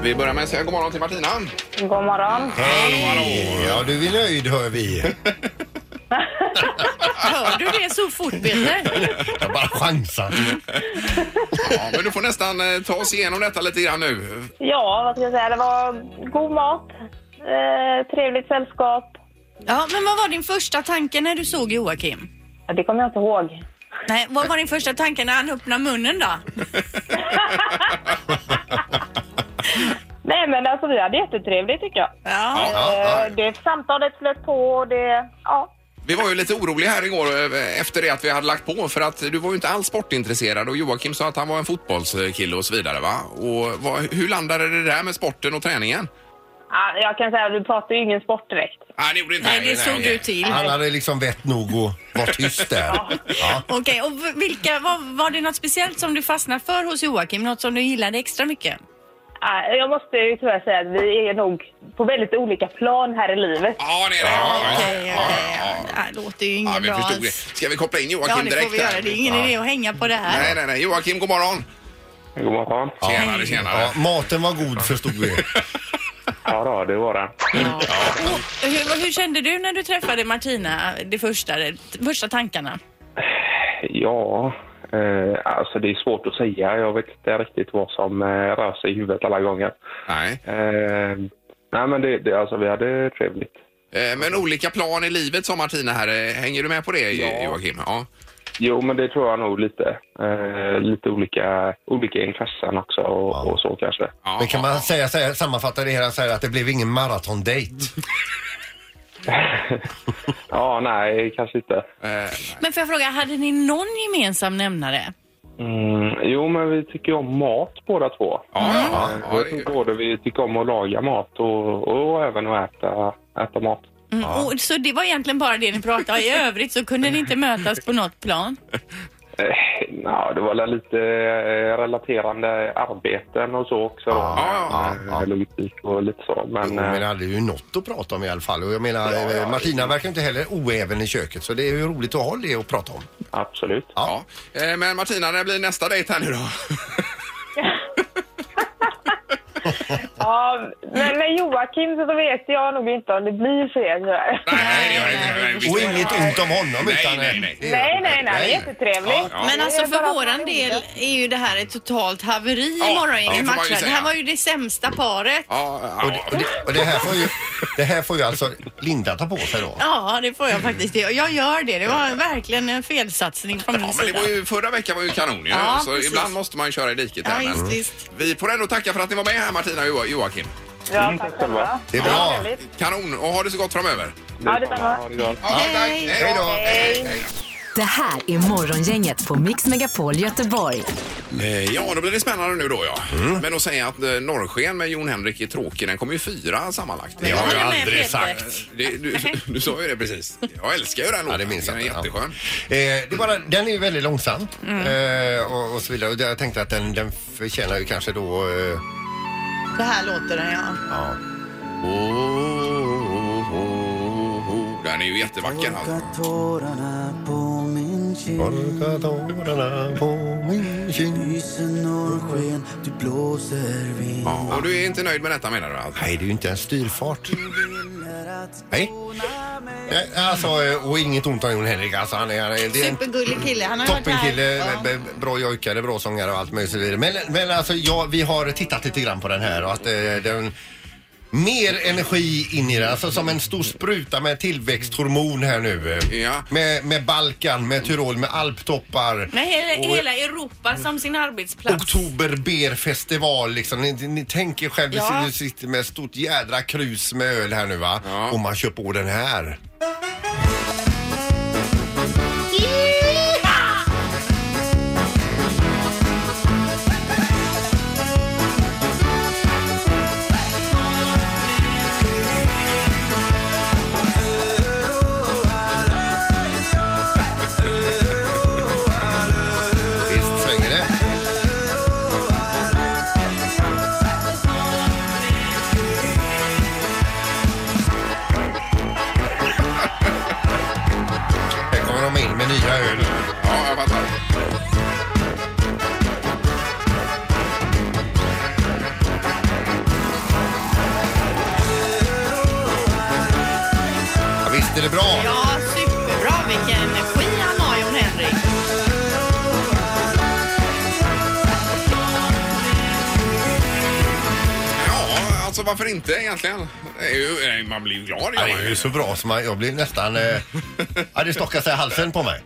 [SPEAKER 1] Vi börjar med att säga god morgon till Martina.
[SPEAKER 6] God morgon.
[SPEAKER 2] Hej! Ja, du är nöjd hör vi.
[SPEAKER 3] Hör du det så fort
[SPEAKER 1] [laughs]
[SPEAKER 3] Peter?
[SPEAKER 2] Jag bara chansar.
[SPEAKER 1] Ja, men du får nästan eh, ta oss igenom detta lite grann nu.
[SPEAKER 6] Ja, vad ska jag säga? Det var god mat, eh, trevligt sällskap.
[SPEAKER 3] Ja, men vad var din första tanke när du såg Joakim?
[SPEAKER 6] Ja, Det kommer jag inte ihåg.
[SPEAKER 3] Nej, vad var din första tanke när han öppnade munnen då?
[SPEAKER 6] Nej, men alltså vi hade jättetrevligt tycker jag.
[SPEAKER 3] Ja.
[SPEAKER 2] ja.
[SPEAKER 6] Eh, det samtalet flöt på och det... Ja.
[SPEAKER 1] Vi var ju lite oroliga här igår eh, efter det att vi hade lagt på för att du var ju inte alls sportintresserad och Joakim sa att han var en fotbollskille och så vidare va? Och vad, hur landade det där med sporten och träningen?
[SPEAKER 6] Ja, Jag kan säga att vi pratade ju ingen sport direkt.
[SPEAKER 1] Nej, det gjorde inte
[SPEAKER 3] Nej, det såg
[SPEAKER 1] okej.
[SPEAKER 3] du till.
[SPEAKER 2] Han hade liksom vett nog att vara tyst där. Ja.
[SPEAKER 3] Okej, och v- vilka, var, var det något speciellt som du fastnade för hos Joakim? Något som du gillade extra mycket?
[SPEAKER 6] Ja, Jag måste ju tyvärr säga att vi är nog på väldigt olika plan här i livet.
[SPEAKER 1] Ja, det är det. Ja, ja,
[SPEAKER 3] Okej,
[SPEAKER 1] ja, ja,
[SPEAKER 3] okej.
[SPEAKER 1] ja.
[SPEAKER 3] Det här låter ju
[SPEAKER 1] Ja,
[SPEAKER 3] inget
[SPEAKER 1] vi
[SPEAKER 3] bra
[SPEAKER 1] förstod det.
[SPEAKER 3] alls.
[SPEAKER 1] Ska vi koppla in
[SPEAKER 3] Ja,
[SPEAKER 1] Joakim
[SPEAKER 3] det får
[SPEAKER 1] direkt?
[SPEAKER 3] vi göra.
[SPEAKER 1] här?
[SPEAKER 3] Det är ingen idé att hänga på det här.
[SPEAKER 1] Nej, nej, nej. Joakim, god morgon.
[SPEAKER 7] God morgon.
[SPEAKER 1] Tjenare, tjenare.
[SPEAKER 2] Ja, maten var god förstod vi.
[SPEAKER 7] Ja, då, det var det.
[SPEAKER 3] Och hur, hur kände du när du träffade Martina, de första, de första tankarna?
[SPEAKER 7] Ja, eh, alltså det är svårt att säga. Jag vet inte riktigt vad som eh, rör sig i huvudet alla gånger.
[SPEAKER 1] Nej.
[SPEAKER 7] Eh, nej, men det, det, alltså, vi hade trevligt.
[SPEAKER 1] Eh, Men olika plan i livet sa Martina här. Eh, Hänger du med på det Jo-
[SPEAKER 7] Ja.
[SPEAKER 1] Joakim? Ja.
[SPEAKER 7] Jo, men det tror jag nog lite. Eh, lite olika, olika intressen också och, och så kanske.
[SPEAKER 1] ja.
[SPEAKER 2] Men kan man säga, säga, sammanfatta det hela så här att det blev ingen maratondejt?
[SPEAKER 7] Ja, nej, kanske inte.
[SPEAKER 1] Eh,
[SPEAKER 3] Men får jag fråga, hade ni någon gemensam nämnare?
[SPEAKER 7] Mm, jo, men vi tycker om mat båda två.
[SPEAKER 1] Ja, ja,
[SPEAKER 7] Eh,
[SPEAKER 1] ja, det är ju-
[SPEAKER 7] både vi tycker om att laga mat och, och även att äta, äta mat.
[SPEAKER 3] Mm, och, så det var egentligen bara det ni pratade om. I övrigt så kunde ni inte mötas på något plan?
[SPEAKER 7] Eh, nja, det var väl lite eh, relaterande arbeten och så också. Då.
[SPEAKER 1] ja, ja,
[SPEAKER 7] Eh, Logistik och lite så. Men,
[SPEAKER 2] Men det
[SPEAKER 7] eh,
[SPEAKER 2] hade ju något att prata om i alla fall. Och jag menar, eh, Martina verkar inte heller oäven i köket så det är ju roligt att ha det att prata om.
[SPEAKER 7] absolut.
[SPEAKER 1] ja. Eh, Men Martina, när blir nästa dejt här nu då?
[SPEAKER 6] Ja, men med Joakim så vet jag nog inte om det blir fler tyvärr.
[SPEAKER 1] Nej, det gör jag inte. Nej, visst.
[SPEAKER 2] Och inget ont om honom
[SPEAKER 1] Nej,
[SPEAKER 2] utan... eh,
[SPEAKER 1] nej, nej.
[SPEAKER 2] det är-
[SPEAKER 6] Nej, nej, nej, det är jättetrevligt.
[SPEAKER 1] Ja.
[SPEAKER 3] Men alltså
[SPEAKER 6] Det är bara
[SPEAKER 3] för
[SPEAKER 6] att
[SPEAKER 3] våran
[SPEAKER 6] man
[SPEAKER 3] del
[SPEAKER 6] inte-
[SPEAKER 3] är ju det här ett totalt haveri
[SPEAKER 1] Ja,
[SPEAKER 3] i
[SPEAKER 1] det får
[SPEAKER 3] morgongänget
[SPEAKER 1] man ju
[SPEAKER 3] matchen. Det
[SPEAKER 1] säga.
[SPEAKER 3] här var ju det sämsta paret.
[SPEAKER 1] Ja,
[SPEAKER 2] Och det, och
[SPEAKER 1] ja.
[SPEAKER 2] det, och det, här får ju, det här får ju alltså Linda ta på sig då.
[SPEAKER 3] Ja, det får jag faktiskt. göra. Jag gör det. Det var verkligen en felsatsning från min
[SPEAKER 1] Ja, men det
[SPEAKER 3] sida.
[SPEAKER 1] var ju, förra veckan var ju kanon ju.
[SPEAKER 3] Ja,
[SPEAKER 1] så
[SPEAKER 3] precis.
[SPEAKER 1] ibland måste man ju köra i diket.
[SPEAKER 3] Ja,
[SPEAKER 1] här, men
[SPEAKER 3] just, visst.
[SPEAKER 1] Vi får ändå tacka för att ni var med här Martina och Jo- Joakim.
[SPEAKER 6] Ja, tack själva.
[SPEAKER 2] Det är bra.
[SPEAKER 6] Trevligt.
[SPEAKER 1] Kanon och ha det så gott framöver.
[SPEAKER 6] Ja, detsamma.
[SPEAKER 7] Ha det gott.
[SPEAKER 1] Ja, tack.
[SPEAKER 3] Hej.
[SPEAKER 1] Hej då.
[SPEAKER 6] Hej.
[SPEAKER 4] Det här är Morgongänget på Mix Megapol Göteborg.
[SPEAKER 1] Eh, Ja, då blir det spännande nu då ja. Men att säga att eh, Norrsken med Jon Henrik är tråkig, den kommer ju fyra sammanlagt.
[SPEAKER 2] Det har
[SPEAKER 3] håller
[SPEAKER 2] jag
[SPEAKER 3] med
[SPEAKER 2] aldrig
[SPEAKER 3] Peter.
[SPEAKER 2] sagt.
[SPEAKER 1] Det, du, du sa ju det precis. Jag älskar ju den låten.
[SPEAKER 2] Ja, det minns jag
[SPEAKER 1] den är
[SPEAKER 2] inte. Ja.
[SPEAKER 1] jätteskön.
[SPEAKER 2] Eh, det är bara, den är ju väldigt långsam eh, och, och så vidare. Och jag tänkte att den, den förtjänar ju kanske då... Eh,
[SPEAKER 3] Så här låter den, ja.
[SPEAKER 2] ja.
[SPEAKER 1] Den är ju jättevacker. Alltså.
[SPEAKER 2] Torka tårarna på min kind.
[SPEAKER 1] Ja, och du är inte nöjd med detta menar du? Alltså.
[SPEAKER 2] Nej, det är ju inte en styrfart. Nej. Nej, Alltså, eh, och inget ont om Jon Henrik. Alltså, han är, han är, det är en
[SPEAKER 3] Supergullig kille. Han har ju varit här.
[SPEAKER 2] Toppenkille,
[SPEAKER 3] Ja.
[SPEAKER 2] b- b- bra jojkare, bra sångare och allt möjligt. och så vidare. Men, men alltså, ja, vi har tittat lite grann på den här och att eh, den... Mer energi in i den, alltså som en stor spruta med tillväxthormon här nu. eh.
[SPEAKER 1] Ja.
[SPEAKER 2] Med, med Balkan, med Tyrol, med alptoppar.
[SPEAKER 8] Med hela,
[SPEAKER 2] Och-
[SPEAKER 8] hela Europa som sin arbetsplats.
[SPEAKER 2] Oktoberberfestival liksom. Ni, ni tänker själv, vi
[SPEAKER 8] Ja.
[SPEAKER 2] sitter- sitter med ett stort jädra krus med öl här nu va?
[SPEAKER 1] Ja.
[SPEAKER 2] Och man kör på den här. Visst svänger det? Här kommer de in med nya öl.
[SPEAKER 1] Ja, jag fattar.
[SPEAKER 2] Ja, visst är det bra?
[SPEAKER 3] Ja, superbra. Vilken energi han har, Jon Henrik.
[SPEAKER 1] Ja, alltså varför inte egentligen? Det är ju- nej, Man blir ju glad.
[SPEAKER 2] Ja,
[SPEAKER 1] gör
[SPEAKER 2] det
[SPEAKER 1] man
[SPEAKER 2] är
[SPEAKER 1] ju.
[SPEAKER 2] ju så bra som man, jag blir nästan... Eh, ja, det stockar sig i halsen på mig.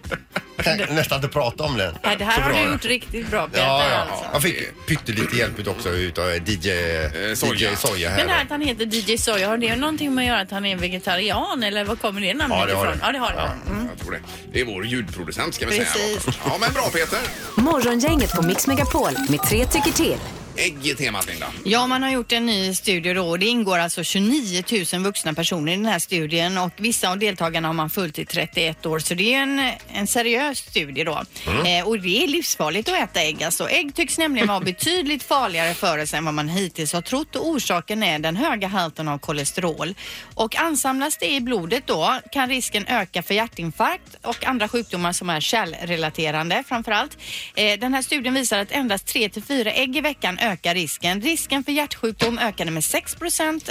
[SPEAKER 2] Jag kan nästan inte prata om den.
[SPEAKER 8] Nej, det här
[SPEAKER 2] Så
[SPEAKER 8] har
[SPEAKER 2] bra
[SPEAKER 8] du
[SPEAKER 2] den.
[SPEAKER 8] gjort riktigt bra Peter.
[SPEAKER 2] Ja,
[SPEAKER 8] Alltså.
[SPEAKER 2] ja. Jag fick pyttelite hjälp också utav eh, DJ, eh,
[SPEAKER 1] Soja.
[SPEAKER 2] DJ Soja här.
[SPEAKER 8] Men det här att han heter DJ Soja, har det någonting med att göra att han är vegetarian eller var kommer det namnet
[SPEAKER 2] Ja, det har
[SPEAKER 8] ifrån?
[SPEAKER 2] det.
[SPEAKER 8] Ja, det har det.
[SPEAKER 1] Mm. Jag tror det. Det är vår ljudproducent ska vi
[SPEAKER 3] Precis.
[SPEAKER 1] säga. Ja, men bra Peter.
[SPEAKER 4] Morgongänget på Mix Megapol med tre tycker till.
[SPEAKER 1] Ägg i temat Linda.
[SPEAKER 3] Ja, man har gjort en ny studie då och det ingår alltså 29 000 vuxna personer i den här studien och vissa av deltagarna har man följt i 31 år så det är en, en seriös studie då.
[SPEAKER 2] Mm.
[SPEAKER 3] Eh, och det är livsfarligt att äta ägg alltså. Ägg tycks nämligen vara betydligt farligare för oss än vad man hittills har trott och orsaken är den höga halten av kolesterol. Och ansamlas det i blodet då kan risken öka för hjärtinfarkt och andra sjukdomar som är kärlrelaterande framför allt. Eh, den här studien visar att endast 3 till 4 ägg i veckan ökar risken. Risken för hjärtsjukdom ökade med 6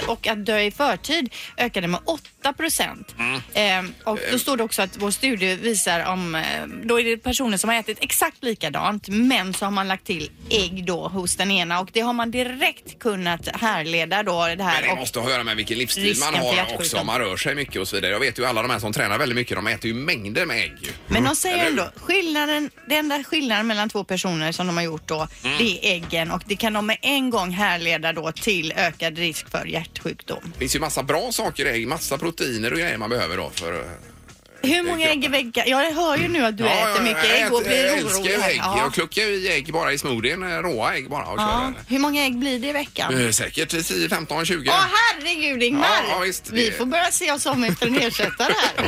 [SPEAKER 3] och att dö i förtid ökade med 8
[SPEAKER 1] Mm.
[SPEAKER 3] eh, Och då står det också att vår studie visar om, eh, då är det personer som har ätit exakt likadant men så har man lagt till ägg då hos den ena och det har man direkt kunnat härleda då det här.
[SPEAKER 1] Men det
[SPEAKER 3] och-
[SPEAKER 1] måste ha att göra med vilken livsstil
[SPEAKER 3] Risken
[SPEAKER 1] man
[SPEAKER 3] för
[SPEAKER 1] har
[SPEAKER 3] hjärtsjukdom.
[SPEAKER 1] också. om Man rör sig mycket och så vidare. Jag vet ju alla de här som tränar väldigt mycket, de äter ju mängder med ägg. ju.
[SPEAKER 3] Men de säger
[SPEAKER 1] Mm. Eller hur?
[SPEAKER 3] ändå, skillnaden, den enda skillnaden mellan två personer som de har gjort då,
[SPEAKER 1] Mm.
[SPEAKER 3] det är äggen och det kan de med en gång härleda då till ökad risk för hjärtsjukdom.
[SPEAKER 1] Det finns ju massa bra saker i ägg, massa proteiner och grejer man behöver då för... eh,
[SPEAKER 3] Hur många ägg i veckan? Jag hör ju nu att du äter mycket
[SPEAKER 1] jag
[SPEAKER 3] ägg och
[SPEAKER 1] äter-
[SPEAKER 3] blir
[SPEAKER 1] jag
[SPEAKER 3] orolig.
[SPEAKER 1] älskar ju
[SPEAKER 3] här.
[SPEAKER 1] ägg.
[SPEAKER 3] Ja.
[SPEAKER 1] Jag kluckar ju i ägg bara i smoothien, eh, råa ägg bara och
[SPEAKER 3] ja.
[SPEAKER 1] kör
[SPEAKER 3] Hur många ägg blir det i veckan?
[SPEAKER 1] den. Eh, Säkert 10, 15, 20.
[SPEAKER 3] Åh herregud Ingmar!
[SPEAKER 1] Ja, ja, visst,
[SPEAKER 3] Vi
[SPEAKER 1] det- Mm.
[SPEAKER 3] får börja se oss om efter en ersättare här.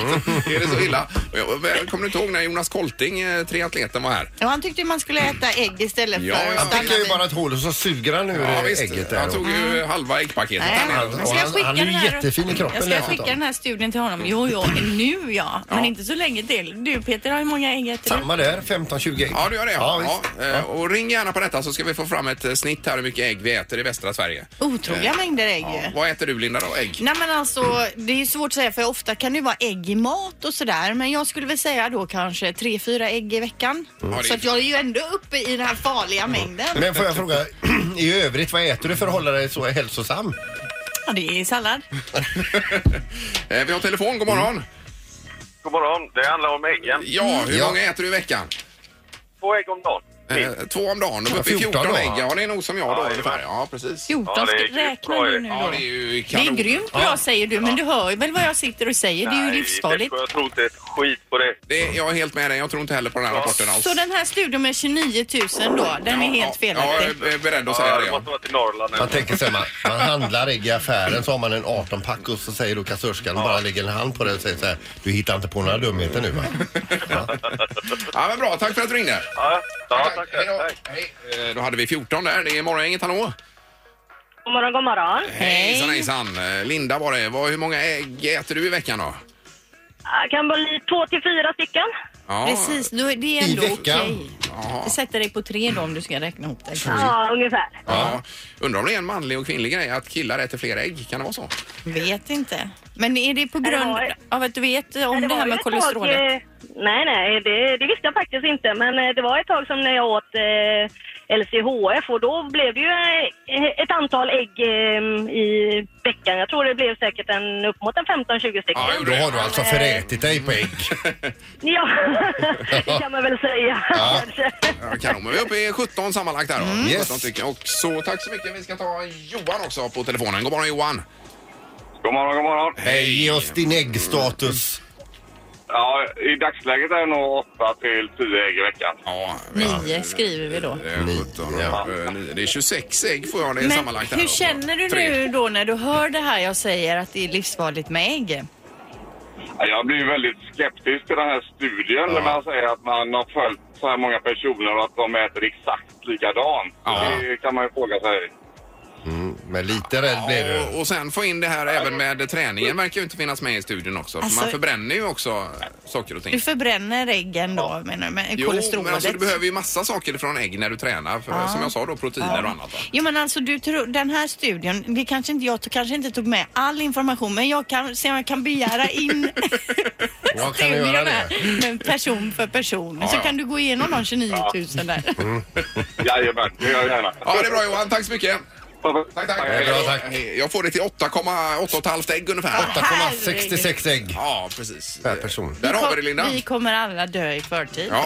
[SPEAKER 1] [laughs] är det så illa? Och jag- jag Kommer du inte ihåg när Jonas Kolting, eh, triatleten, var här?
[SPEAKER 3] Ja, han tyckte man skulle äta ägg istället
[SPEAKER 1] Ja,
[SPEAKER 3] för
[SPEAKER 1] ja.
[SPEAKER 3] att
[SPEAKER 2] Han
[SPEAKER 3] stanna
[SPEAKER 2] sticker ju
[SPEAKER 3] vid-
[SPEAKER 2] bara ett hål och så suger han ur
[SPEAKER 1] Ja,
[SPEAKER 2] eh,
[SPEAKER 1] visst.
[SPEAKER 2] ägget där.
[SPEAKER 1] Han tog ju halva äggpaketet.
[SPEAKER 3] Mm.
[SPEAKER 1] där
[SPEAKER 3] Nej.
[SPEAKER 1] nere.
[SPEAKER 2] Han,
[SPEAKER 8] Men
[SPEAKER 2] och
[SPEAKER 8] ska jag
[SPEAKER 2] han,
[SPEAKER 8] skicka
[SPEAKER 2] han är
[SPEAKER 8] den
[SPEAKER 2] ju
[SPEAKER 8] här-
[SPEAKER 2] jättefin i kroppen
[SPEAKER 8] Jag ska skicka den här studien till honom. Jo, jo, nu ja.
[SPEAKER 3] ja. Men
[SPEAKER 1] Ja.
[SPEAKER 3] inte så länge till. Du Peter har ju många ägg äter du?
[SPEAKER 2] Samma där, 15-20 ägg.
[SPEAKER 1] Ja, du gör det.
[SPEAKER 2] Ja,
[SPEAKER 1] Ja,
[SPEAKER 2] visst.
[SPEAKER 1] Eh, Och ring gärna på detta så ska vi få fram ett eh, snitt här hur mycket ägg vi äter i västra Sverige.
[SPEAKER 9] Otroliga mängder ägg ju.
[SPEAKER 1] Ja. Vad äter du Linda då?
[SPEAKER 3] [laughs]
[SPEAKER 1] Ägg?
[SPEAKER 9] Nej men alltså, det är ju svårt att säga för ofta kan det ju vara ägg i mat och sådär. Men jag skulle väl säga då kanske tre, fyra ägg i veckan.
[SPEAKER 1] Ja, det är-
[SPEAKER 9] Så att jag är ju ändå uppe i den här farliga mängden.
[SPEAKER 2] Men får jag fråga, [clears throat] i övrigt vad äter du för att hålla dig så hälsosam?
[SPEAKER 3] Ja, det är sallad.
[SPEAKER 1] Eh, Vi har telefon, god morgon.
[SPEAKER 10] Mm. God morgon. Det handlar om äggen.
[SPEAKER 1] Ja, hur
[SPEAKER 2] Ja.
[SPEAKER 1] många äter du i veckan?
[SPEAKER 10] Två ägg om dagen.
[SPEAKER 1] Eh, Två om dagen, då är vi uppe i
[SPEAKER 2] 14
[SPEAKER 1] 14
[SPEAKER 2] då.
[SPEAKER 1] ägg. Ja, det är nog som jag då
[SPEAKER 10] Ja, det är
[SPEAKER 1] ungefär.
[SPEAKER 10] det.
[SPEAKER 1] Ja, precis.
[SPEAKER 3] 14
[SPEAKER 10] Ja, det är
[SPEAKER 3] styck.
[SPEAKER 10] grymt
[SPEAKER 3] Räkna
[SPEAKER 10] bra
[SPEAKER 3] du
[SPEAKER 10] ju.
[SPEAKER 3] nu då.
[SPEAKER 1] Ja, det är ju
[SPEAKER 3] Det är
[SPEAKER 1] kanon.
[SPEAKER 3] grymt bra säger du, men du hör ju väl vad jag sitter och säger. Det är ju
[SPEAKER 10] Nej,
[SPEAKER 3] livsfarligt.
[SPEAKER 10] Växjö, Jag tror inte ett skit på det.
[SPEAKER 1] Det, jag är helt med dig. Jag tror inte heller på den här rapporten alls.
[SPEAKER 3] Så den här studion med 29 000 då, den är
[SPEAKER 1] Ja,
[SPEAKER 3] helt
[SPEAKER 1] Ja,
[SPEAKER 3] felaktig.
[SPEAKER 1] jag är beredd att säga
[SPEAKER 10] Ja,
[SPEAKER 1] det.
[SPEAKER 10] det
[SPEAKER 1] Ja.
[SPEAKER 10] måste vara till Norrland.
[SPEAKER 2] Man tänker sig man, man handlar ägg i affären så har man en 18-pack och så säger då kassörskan bara lägger en hand på det och säger så här. Du hittar inte på några dumheter nu va? Ja.
[SPEAKER 1] ja, men bra. Tack för att du ringde.
[SPEAKER 10] [laughs] Ja, ja, tack.
[SPEAKER 1] Hej då.
[SPEAKER 10] Hej.
[SPEAKER 1] Hej. Eh, Då hade vi 14 där. Det är morgongänget, hallå?
[SPEAKER 6] God morgon, god morgon.
[SPEAKER 1] Hejsan, hejsan. Eh, Linda var det. Vad- Hur många ägg äter du i veckan då?
[SPEAKER 6] Ah, Kan vara li- två till fyra stycken.
[SPEAKER 1] Ja,
[SPEAKER 3] Precis, då är det är
[SPEAKER 2] I
[SPEAKER 3] ändå
[SPEAKER 2] veckan.
[SPEAKER 3] okej.
[SPEAKER 1] Ja.
[SPEAKER 3] Sätter dig på tre då om du ska räkna ihop det.
[SPEAKER 6] Ja, ungefär.
[SPEAKER 1] Ja. Undrar om det är en manlig och kvinnlig grej att killar äter fler ägg. Kan det vara så?
[SPEAKER 3] Vet inte. Men är det på grund
[SPEAKER 6] var-
[SPEAKER 3] av att du vet om
[SPEAKER 6] Nej,
[SPEAKER 3] det, här
[SPEAKER 6] var
[SPEAKER 3] med
[SPEAKER 6] ju ett tag,
[SPEAKER 3] kolesterolet?
[SPEAKER 6] eh, nej, nej, det, det visste jag faktiskt inte. Men eh, det var ett tag som när jag åt eh, LCHF och då blev det ju eh, ett antal ägg eh, i veckan. Jag tror det blev säkert en, upp mot en 15-20 stycken.
[SPEAKER 1] Ja,
[SPEAKER 2] Då har du alltså förätit dig på ägg.
[SPEAKER 6] Ja, [laughs] det kan man väl säga. [laughs] kanske.
[SPEAKER 1] Ja, Mm. Kanon, men vi är uppe i 17 sammanlagt här då. 17
[SPEAKER 2] Yes.
[SPEAKER 1] stycken. Och så tack så mycket. Vi ska ta Johan också på telefonen. God morgon Johan.
[SPEAKER 10] God morgon, god morgon.
[SPEAKER 2] Hej, ge oss din äggstatus.
[SPEAKER 10] Ja, I dagsläget är det nog 8 till 10 ägg i veckan.
[SPEAKER 1] Ja, vi-
[SPEAKER 3] Nio skriver vi då.
[SPEAKER 1] Det är 17
[SPEAKER 2] Ja.
[SPEAKER 1] eh, nio. Det är 26 ägg får jag det
[SPEAKER 3] Men
[SPEAKER 1] sammanlagt här
[SPEAKER 3] hur
[SPEAKER 1] då.
[SPEAKER 3] känner du
[SPEAKER 1] Tre.
[SPEAKER 3] nu då när du hör det här jag säger att det är livsfarligt med ägg?
[SPEAKER 10] Ja, Jag blir väldigt skeptisk till den här studien när man säger att man har följt så här många personer och att de äter exakt likadant.
[SPEAKER 1] Ja.
[SPEAKER 10] Det kan man ju fråga sig.
[SPEAKER 2] Men lite rädd blir
[SPEAKER 1] Ja,
[SPEAKER 2] du.
[SPEAKER 1] och, och sen få in det här även med träningen verkar ju inte finnas med i studien också. För
[SPEAKER 3] Alltså-
[SPEAKER 1] man förbränner ju också saker och ting.
[SPEAKER 3] Du förbränner äggen då menar du, med
[SPEAKER 1] Jo, men alltså,
[SPEAKER 3] kolesterolet?
[SPEAKER 1] du behöver ju massa saker från ägg när du tränar. För, Som jag sa då, proteiner och annat. Va?
[SPEAKER 3] Jo men alltså du tror, den här studien, det kanske inte, jag tog- kanske inte tog med all information men jag kan se om jag kan
[SPEAKER 1] [laughs]
[SPEAKER 3] begära in
[SPEAKER 2] Jag kan
[SPEAKER 3] studien
[SPEAKER 2] göra det.
[SPEAKER 3] här, men person för person. så
[SPEAKER 1] ja. Mm.
[SPEAKER 3] kan du gå igenom de 29 000 där.
[SPEAKER 10] Jajamän, det gör jag gärna.
[SPEAKER 1] Ja, det är bra Johan. Tack så mycket. Tack, tack.
[SPEAKER 2] är bra, tack.
[SPEAKER 1] Hej. Jag får det till 8,8,5 ägg ungefär.
[SPEAKER 2] 8,66 ägg.
[SPEAKER 1] Ja, precis.
[SPEAKER 2] Per person.
[SPEAKER 1] Där har vi det, Linda.
[SPEAKER 3] Vi kommer alla dö i förtid.
[SPEAKER 1] Ja.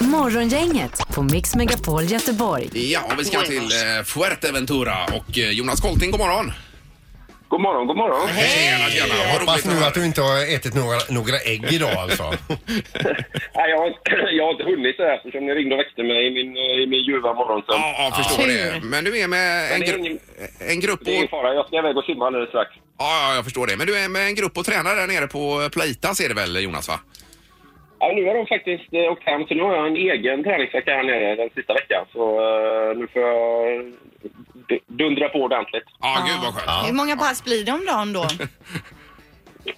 [SPEAKER 4] Morgongänget på Mix Megapol Göteborg.
[SPEAKER 1] ja, och vi ska till eh, Fuerteventura och eh, Jonas Kolting, god morgon.
[SPEAKER 10] God morgon, god morgon.
[SPEAKER 1] Tjena, tjena. Vad roligt
[SPEAKER 2] Hoppas nu
[SPEAKER 1] höra.
[SPEAKER 2] att du inte har ätit några, några ägg idag alltså.
[SPEAKER 10] Nej, jag, har, jag har inte [clears throat] hunnit det här eftersom ni ringde och väckte mig i min, eh, i min ljuva morgonsömn.
[SPEAKER 1] Ja, ja, förstår det.
[SPEAKER 3] Tur.
[SPEAKER 1] Men du är med en,
[SPEAKER 10] Men det är
[SPEAKER 1] gru-
[SPEAKER 10] ingen-
[SPEAKER 1] en grupp
[SPEAKER 10] Det är ingen
[SPEAKER 1] och...
[SPEAKER 10] fara, jag ska iväg och simma alldeles strax.
[SPEAKER 1] Ja, ja, jag förstår det. Men du är med en grupp och tränar där nere på Plaitas är det väl, Jonas, va?
[SPEAKER 10] Ja, nu har de faktiskt eh, åkt hem, så nu har jag en egen träningsvecka här nere den sista veckan. Så eh, nu får jag d- dundra på ordentligt.
[SPEAKER 1] Ja, gud vad skönt.
[SPEAKER 3] Hur många pass blir det om dagen då?
[SPEAKER 10] [laughs]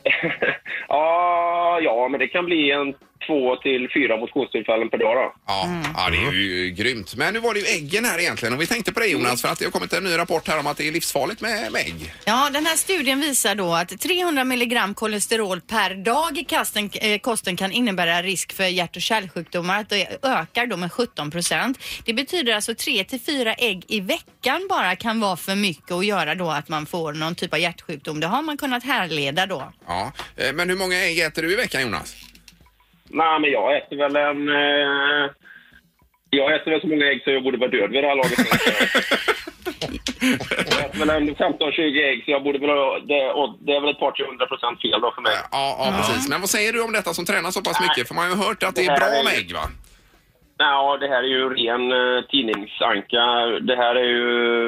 [SPEAKER 10] ja, Ah, ja, men det kan bli en två till fyra motionstillfällen per dag då.
[SPEAKER 1] Ja, ja, det är ju grymt. Men nu var det ju äggen här egentligen och vi tänkte på det Jonas för att det har kommit en ny rapport här om att det är livsfarligt med med ägg.
[SPEAKER 3] Ja, den här studien visar då att 300 milligram kolesterol per dag i kasten, eh, kosten kan innebära risk för hjärt och kärlsjukdomar. Att det ökar då med 17 procent. Det betyder alltså 3 till 4 ägg i veckan bara kan vara för mycket och göra då att man får någon typ av hjärtsjukdom. Det har man kunnat härleda då.
[SPEAKER 1] Ja. eh, Men hur många ägg äter du i veckan Jonas?
[SPEAKER 10] Nej, men jag äter väl en... Eh, jag äter väl så många ägg så jag borde vara död vid det här laget. jag äter väl en 15-20 ägg så jag borde väl... ha- Det, och det är väl ett par, 300 procent fel då för mig.
[SPEAKER 1] Ja, ja precis. Men vad säger du om detta som tränar så pass mycket? För man har ju hört att det
[SPEAKER 10] Det
[SPEAKER 1] är
[SPEAKER 10] här
[SPEAKER 1] bra
[SPEAKER 10] är-
[SPEAKER 1] med ägg va?
[SPEAKER 10] Nej, ja, det här är ju ren eh, tidningsanka. Det här är ju,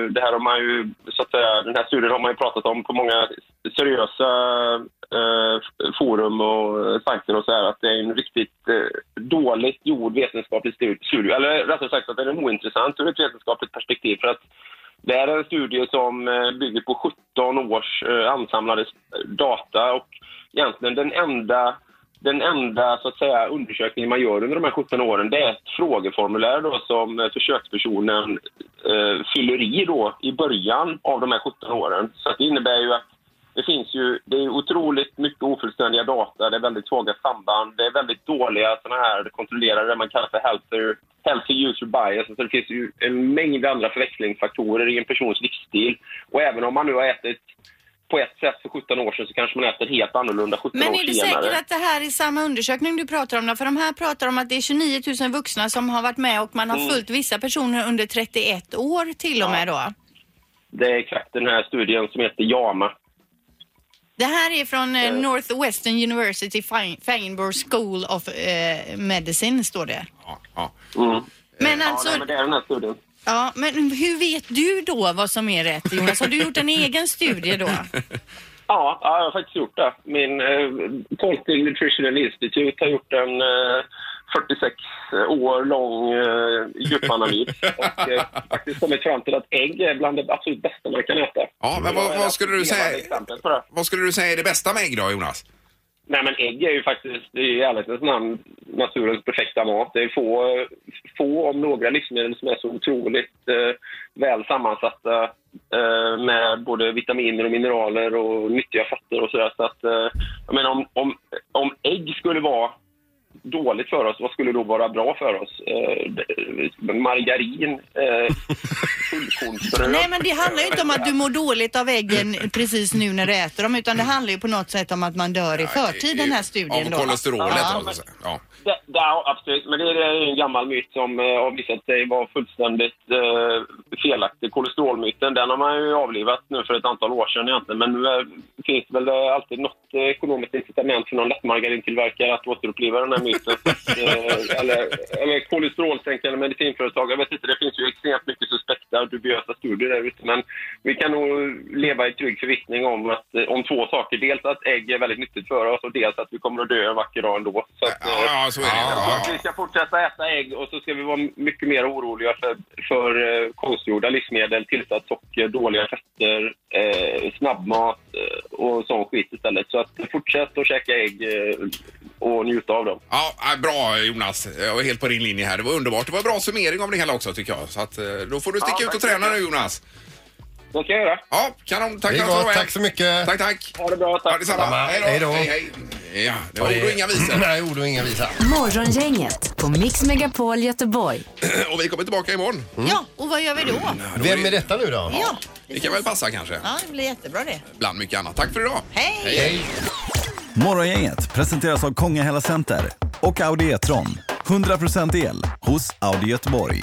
[SPEAKER 10] det här har man ju, så att säga, den här studien har man ju pratat om på många seriösa eh, forum och eh, sajter och så här, att det är en riktigt eh, dåligt gjord vetenskaplig stu- studie. Eller rättare sagt att den är ointressant ur ett vetenskapligt perspektiv för att det här är en studie som eh, bygger på 17 års eh, ansamlade s- data och egentligen den enda den enda så att säga, undersökningen man gör under de här 17 åren det är ett frågeformulär då, som eh, försökspersonen eh, fyller i då, i början av de här 17 åren. Så att det innebär ju att det finns ju, det är otroligt mycket ofullständiga data, det är väldigt svaga samband, det är väldigt dåliga sådana här kontrollerade, det man kallar för healthy, healthy user bias. Alltså det finns ju en mängd andra förväxlingsfaktorer i en persons livsstil. Och även om man nu har ätit på ett sätt för 17 år sedan så kanske man äter helt annorlunda 17
[SPEAKER 3] Men
[SPEAKER 10] år
[SPEAKER 3] är du
[SPEAKER 10] senare.
[SPEAKER 3] säker att det här är samma undersökning du pratar om? då? För de här pratar om att det är 29 000 vuxna som har varit med och man har följt vissa personer under 31 år till och med då.
[SPEAKER 10] Det är exakt den här studien som heter JAMA.
[SPEAKER 3] Det här är från eh, Northwestern University Fein- Feinberg School of eh, Medicine står det.
[SPEAKER 1] Ja, ja.
[SPEAKER 10] Mm.
[SPEAKER 3] Men
[SPEAKER 10] Ja,
[SPEAKER 3] alltså,
[SPEAKER 10] nej, men det är den här studien.
[SPEAKER 3] ja, men hur vet du då vad som är rätt Jonas? Har du gjort en egen studie
[SPEAKER 10] [laughs]
[SPEAKER 3] då?
[SPEAKER 10] Ja, ja, jag har faktiskt gjort det. Min eh, Tolting Nutritional Institute har gjort en eh, 46 år lång eh, [laughs] djupanalys och eh, faktiskt kommit fram till att ägg är bland det absolut bästa man kan äta.
[SPEAKER 1] Ja, men vad-
[SPEAKER 10] Det är
[SPEAKER 1] vad skulle du
[SPEAKER 10] ett levande
[SPEAKER 1] säga-
[SPEAKER 10] exempel på det.
[SPEAKER 1] Vad skulle du säga är det bästa med ägg då, Jonas?
[SPEAKER 10] Nej, men ägg är ju faktiskt i ärlighetens namn naturens perfekta mat. Det är få, få om några livsmedel som är så otroligt eh, väl sammansatta eh, med både vitaminer och mineraler och nyttiga fetter och sådär. Så att, eh, jag menar, om, om, om ägg skulle vara dåligt för oss, vad skulle då vara bra för oss? Eh, det- margarin,
[SPEAKER 3] [laughs]
[SPEAKER 10] eh, fullkornsbröd.
[SPEAKER 3] Nej men det handlar ju inte om att du mår dåligt av äggen precis nu när du äter dem utan det
[SPEAKER 10] Mm.
[SPEAKER 3] handlar ju på något sätt om att man dör i förtid den här studien
[SPEAKER 1] Av
[SPEAKER 3] då.
[SPEAKER 1] kolesterolet.
[SPEAKER 10] Ja,
[SPEAKER 1] då, så att säga. Ja.
[SPEAKER 10] Ja, ja, absolut. Men det är en gammal myt som eh, har visat sig vara fullständigt eh, felaktig. Kolesterolmyten, den har man ju avlivat nu för ett antal år sedan egentligen. Men nu eh, finns det väl eh, alltid något eh, ekonomiskt incitament för någon lättmargarintillverkare att återuppliva den här myten. eh, eller, eller kolesterolsänkande medicinföretag. Jag vet inte, det finns ju extremt mycket suspekta dubiösa studier där ute. Men vi kan nog leva i trygg förvissning om, att, eh, om två saker. Dels att ägg är väldigt nyttigt för oss och dels att vi kommer att dö en vacker dag ändå. Så att, eh,
[SPEAKER 1] Ja, ja, så är det.
[SPEAKER 10] så
[SPEAKER 1] Ja,
[SPEAKER 10] att vi
[SPEAKER 1] ja.
[SPEAKER 10] ska fortsätta äta ägg och så ska vi vara mycket mer oroliga för, för eh, konstgjorda livsmedel, tillsatt socker, dåliga fetter, eh, snabbmat eh, och sån skit istället. Så att fortsätt att käka ägg eh, och njuta av dem.
[SPEAKER 1] Ja, ja, bra Jonas. Jag var helt på din linje här. Det var underbart. Det var en bra summering av det hela också tycker jag. Så att, eh, då får du sticka
[SPEAKER 10] Ja,
[SPEAKER 1] ut och
[SPEAKER 10] tack.
[SPEAKER 1] träna nu Jonas.
[SPEAKER 10] Det ska jag göra.
[SPEAKER 1] Ja, kanon. Tack,
[SPEAKER 11] Det är
[SPEAKER 1] för att du var
[SPEAKER 11] gott.
[SPEAKER 1] med.
[SPEAKER 11] Tack så mycket.
[SPEAKER 1] Tack, tack.
[SPEAKER 10] Ha det bra,
[SPEAKER 1] Ja,
[SPEAKER 10] tack!
[SPEAKER 1] detsamma. Hej då.
[SPEAKER 11] Hej
[SPEAKER 1] Hej, hej. Ja, det var ord och inga visor. [clears throat]
[SPEAKER 11] Nej, ord och inga visor.
[SPEAKER 4] Morgongänget på Mix Megapol Göteborg.
[SPEAKER 1] Och vi kommer tillbaka imorgon.
[SPEAKER 12] Ja, och vad gör vi då?
[SPEAKER 10] Mm.
[SPEAKER 11] Vem är detta nu då?
[SPEAKER 12] Ja,
[SPEAKER 1] Det kan väl passa kanske,
[SPEAKER 12] ja det blir jättebra det.
[SPEAKER 1] bland mycket annat. Tack för idag.
[SPEAKER 12] Hej!
[SPEAKER 11] Hej.
[SPEAKER 6] Morgongänget presenteras av Kongahälla Center och Audi E-tron. 100% el hos Audi Göteborg.